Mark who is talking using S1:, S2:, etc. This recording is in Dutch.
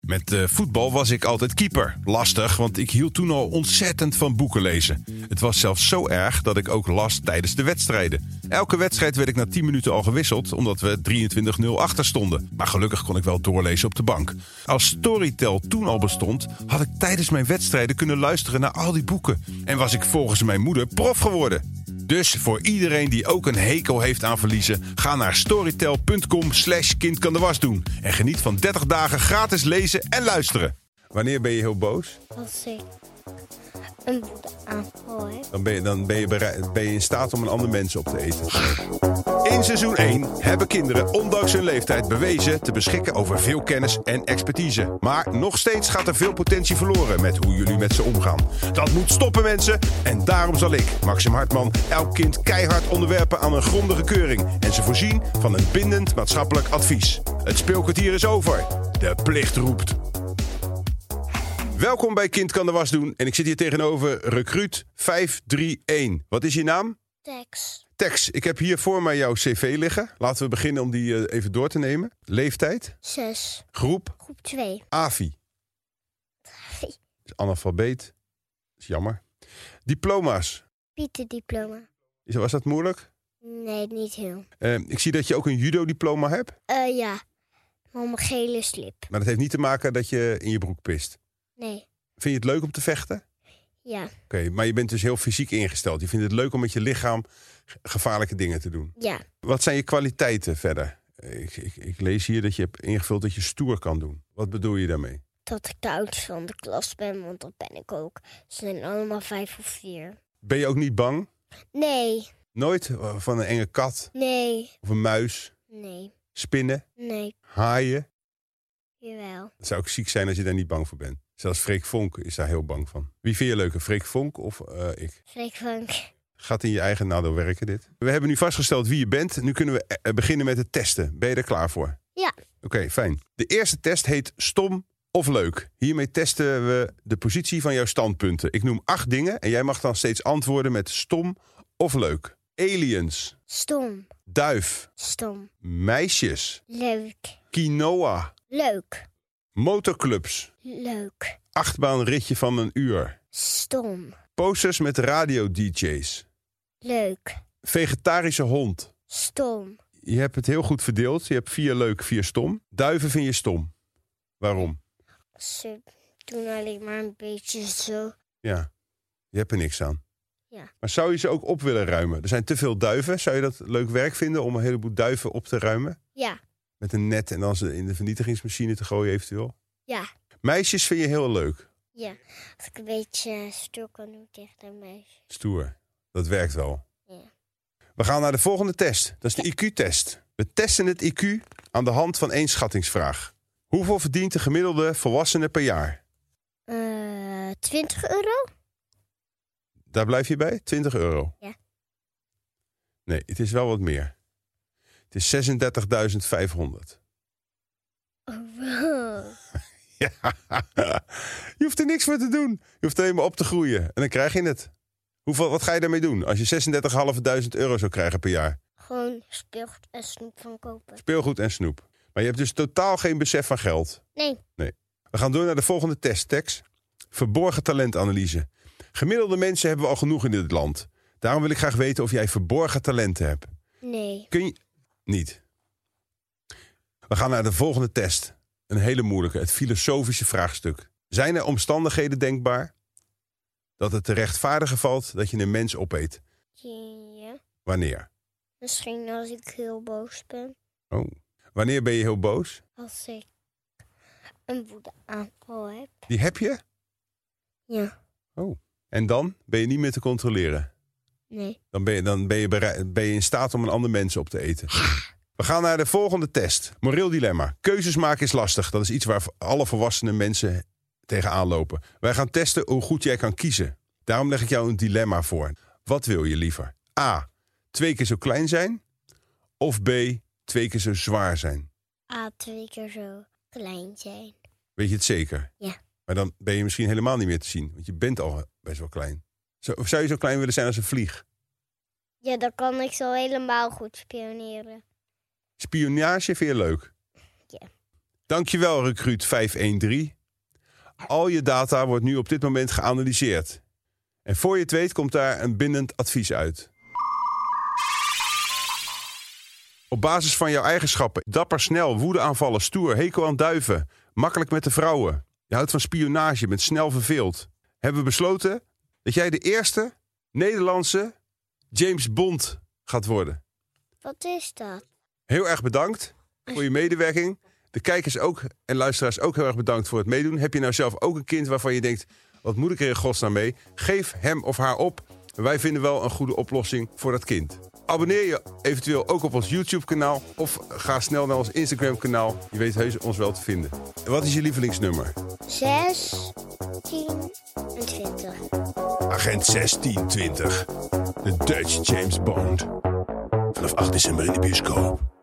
S1: Met eh, voetbal was ik altijd keeper. Lastig, want ik hield toen al ontzettend van boeken lezen. Het was zelfs zo erg dat ik ook las tijdens de wedstrijden. Elke wedstrijd werd ik na 10 minuten al gewisseld, omdat we 23-0 achter stonden. Maar gelukkig kon ik wel doorlezen op de bank. Als Storytel toen al bestond, had ik tijdens mijn wedstrijden kunnen luisteren naar al die boeken. En was ik volgens mijn moeder prof geworden. Dus voor iedereen die ook een hekel heeft aan verliezen, ga naar storytel.com slash kind kan de was doen. En geniet van 30 dagen gratis lezen en luisteren. Wanneer ben je heel boos?
S2: Als ik een woedeaanval heb.
S1: Dan ben je, dan ben je, berei- ben je in staat om een ander mens op te eten. In seizoen 1 hebben kinderen ondanks hun leeftijd bewezen te beschikken over veel kennis en expertise. Maar nog steeds gaat er veel potentie verloren met hoe jullie met ze omgaan. Dat moet stoppen mensen en daarom zal ik, Maxim Hartman, elk kind keihard onderwerpen aan een grondige keuring en ze voorzien van een bindend maatschappelijk advies. Het speelkwartier is over. De plicht roept. Welkom bij Kind kan de was doen en ik zit hier tegenover recruit 531. Wat is je naam?
S2: Tekst.
S1: Tex, ik heb hier voor mij jouw cv liggen. Laten we beginnen om die eh, even door te nemen. Leeftijd,
S2: 6.
S1: groep,
S2: Groep 2.
S1: AVI.
S2: AVI.
S1: Is analfabeet. Is jammer. Diploma's.
S2: Pieterdiploma.
S1: Is- Was dat moeilijk?
S2: Nee, niet heel.
S1: Eh, ik zie dat je ook een judo-diploma hebt.
S2: Eh ja. Maar om een gele slip.
S1: Maar dat heeft niet te maken dat je in je broek pist.
S2: Nee.
S1: Vind je het leuk om te vechten? Oké,
S2: Ja.
S1: maar je bent dus heel fysiek ingesteld. Je vindt het leuk om met je lichaam ge- gevaarlijke dingen te doen.
S2: Ja.
S1: Wat zijn je kwaliteiten verder? Eh, Ik, ik, ik lees hier dat je hebt ingevuld dat je stoer kan doen. Wat bedoel je daarmee?
S2: Dat ik de oudste van de klas ben, want dat ben ik ook. Ze zijn allemaal vijf of vier.
S1: Ben je ook niet bang?
S2: Nee.
S1: Nooit eh, van een enge kat
S2: Nee.
S1: of een muis,
S2: Nee.
S1: spinnen,
S2: Nee.
S1: haaien.
S2: Jawel.
S1: Het zou ook ziek zijn als je daar niet bang voor bent. Zelfs Freek Vonk is daar heel bang van. Wie vind je leuker, Freek Vonk of eh, ik?
S2: Freek Frank.
S1: Gaat in je eigen nadeel werken dit. We hebben nu vastgesteld wie je bent. Nu kunnen we eh, beginnen met het testen. Ben je er klaar voor?
S2: Ja.
S1: Oké, fijn. De eerste test heet stom of leuk. Hiermee testen we de positie van jouw standpunten. Ik noem acht dingen en jij mag dan steeds antwoorden met stom of leuk. Aliens,
S2: Stom.
S1: duif,
S2: Stom.
S1: meisjes,
S2: Leuk.
S1: quinoa,
S2: Leuk.
S1: motorclubs,
S2: Leuk.
S1: achtbaanritje van een uur,
S2: Stom.
S1: posters met radio-dj's,
S2: Leuk.
S1: vegetarische hond.
S2: Stom.
S1: Je hebt het heel goed verdeeld. Je hebt vier leuk, vier stom. Duiven vind je stom. Waarom?
S2: Ze doen alleen maar een beetje zo.
S1: Ja, je hebt er niks aan.
S2: Ja.
S1: Maar zou je ze ook op willen ruimen? Er zijn te veel duiven. Zou je dat leuk werk vinden om een heleboel duiven op te ruimen?
S2: Ja.
S1: Met een net en dan ze in de vernietigingsmachine te gooien eventueel?
S2: Ja.
S1: Meisjes vind je heel leuk.
S2: Ja. Als ik een beetje stuk kan doen tegen een meisje.
S1: Stoer. Dat werkt wel.
S2: Ja.
S1: We gaan naar de volgende test. Dat is de IQ-test. We testen het IQ aan de hand van één schattingsvraag. Hoeveel verdient de gemiddelde volwassene per jaar?
S2: Eh, 20 euro?
S1: Daar blijf je bij? 20 euro.
S2: Ja.
S1: Nee, het is wel wat meer. Het is 36.500.
S2: Oh, wow.
S1: Ja. Je hoeft er niks voor te doen. Je hoeft alleen maar op te groeien. En dan krijg je het. Hoeveel, wat ga je daarmee doen als je 36.500 euro zou krijgen per jaar?
S2: Gewoon speelgoed en snoep van kopen.
S1: Speelgoed en snoep. Maar je hebt dus totaal geen besef van geld.
S2: Nee.
S1: We gaan door naar de volgende test, Tex. Verborgen talentanalyse. Gemiddelde mensen hebben we al genoeg in dit land. Daarom wil ik graag weten of jij verborgen talenten hebt.
S2: Nee.
S1: Kun je... Niet. We gaan naar de volgende test. Een hele moeilijke, het filosofische vraagstuk. Zijn er omstandigheden denkbaar dat het te rechtvaardigen valt dat je een mens opeet?
S2: Ja.
S1: Wanneer?
S2: Misschien als ik heel boos ben.
S1: Oh. Wanneer ben je heel boos?
S2: Als ik een woedeaanval heb.
S1: Die heb je.
S2: Ja.
S1: En dan ben je niet meer te controleren.
S2: Nee.
S1: Dan ben je, dan ben je, berei- ben je in staat om een ander mens op te eten. We gaan naar de volgende test. Moreel dilemma. Keuzes maken is lastig. Dat is iets waar alle volwassene mensen tegenaan lopen. Wij gaan testen hoe goed jij kan kiezen. Daarom leg ik jou een dilemma voor. Wat wil je liever? A. Twee keer zo klein zijn. Of B. Twee keer zo zwaar zijn.
S2: A, Ah, twee keer zo klein zijn.
S1: Weet je het zeker?
S2: Ja.
S1: Maar dan ben je misschien helemaal niet meer te zien. Want je bent al best wel klein. Zo- of zou je zo klein willen zijn als een vlieg?
S2: Ja, dan kan ik zo helemaal goed spioneren.
S1: Spionage vind je leuk?
S2: Ja.
S1: Oké, Dankjewel, recruit 513. Al je data wordt nu op dit moment geanalyseerd. En voor je het weet komt daar een bindend advies uit. Op basis van jouw eigenschappen, dapper snel, woedeaanvallen, stoer, hekel aan duiven, makkelijk met de vrouwen. Je houdt van spionage, bent snel verveeld. Hebben we besloten dat jij de eerste Nederlandse James Bond gaat worden.
S2: Wat is dat?
S1: Heel erg bedankt voor je medewerking. De kijkers ook en luisteraars ook heel erg bedankt voor het meedoen. Heb je nou zelf ook een kind waarvan je denkt: wat moet ik er in godsnaam mee? Geef hem of haar op. Wij vinden wel een goede oplossing voor dat kind. Abonneer je eventueel ook op ons YouTube-kanaal of ga snel naar ons Instagram-kanaal. Je weet heus ons wel te vinden. En Wat is je lievelingsnummer?
S2: 6, 10 en 20.
S1: Agent 1620, de Dutch James Bond. Vanaf 8 december in de bioscoop.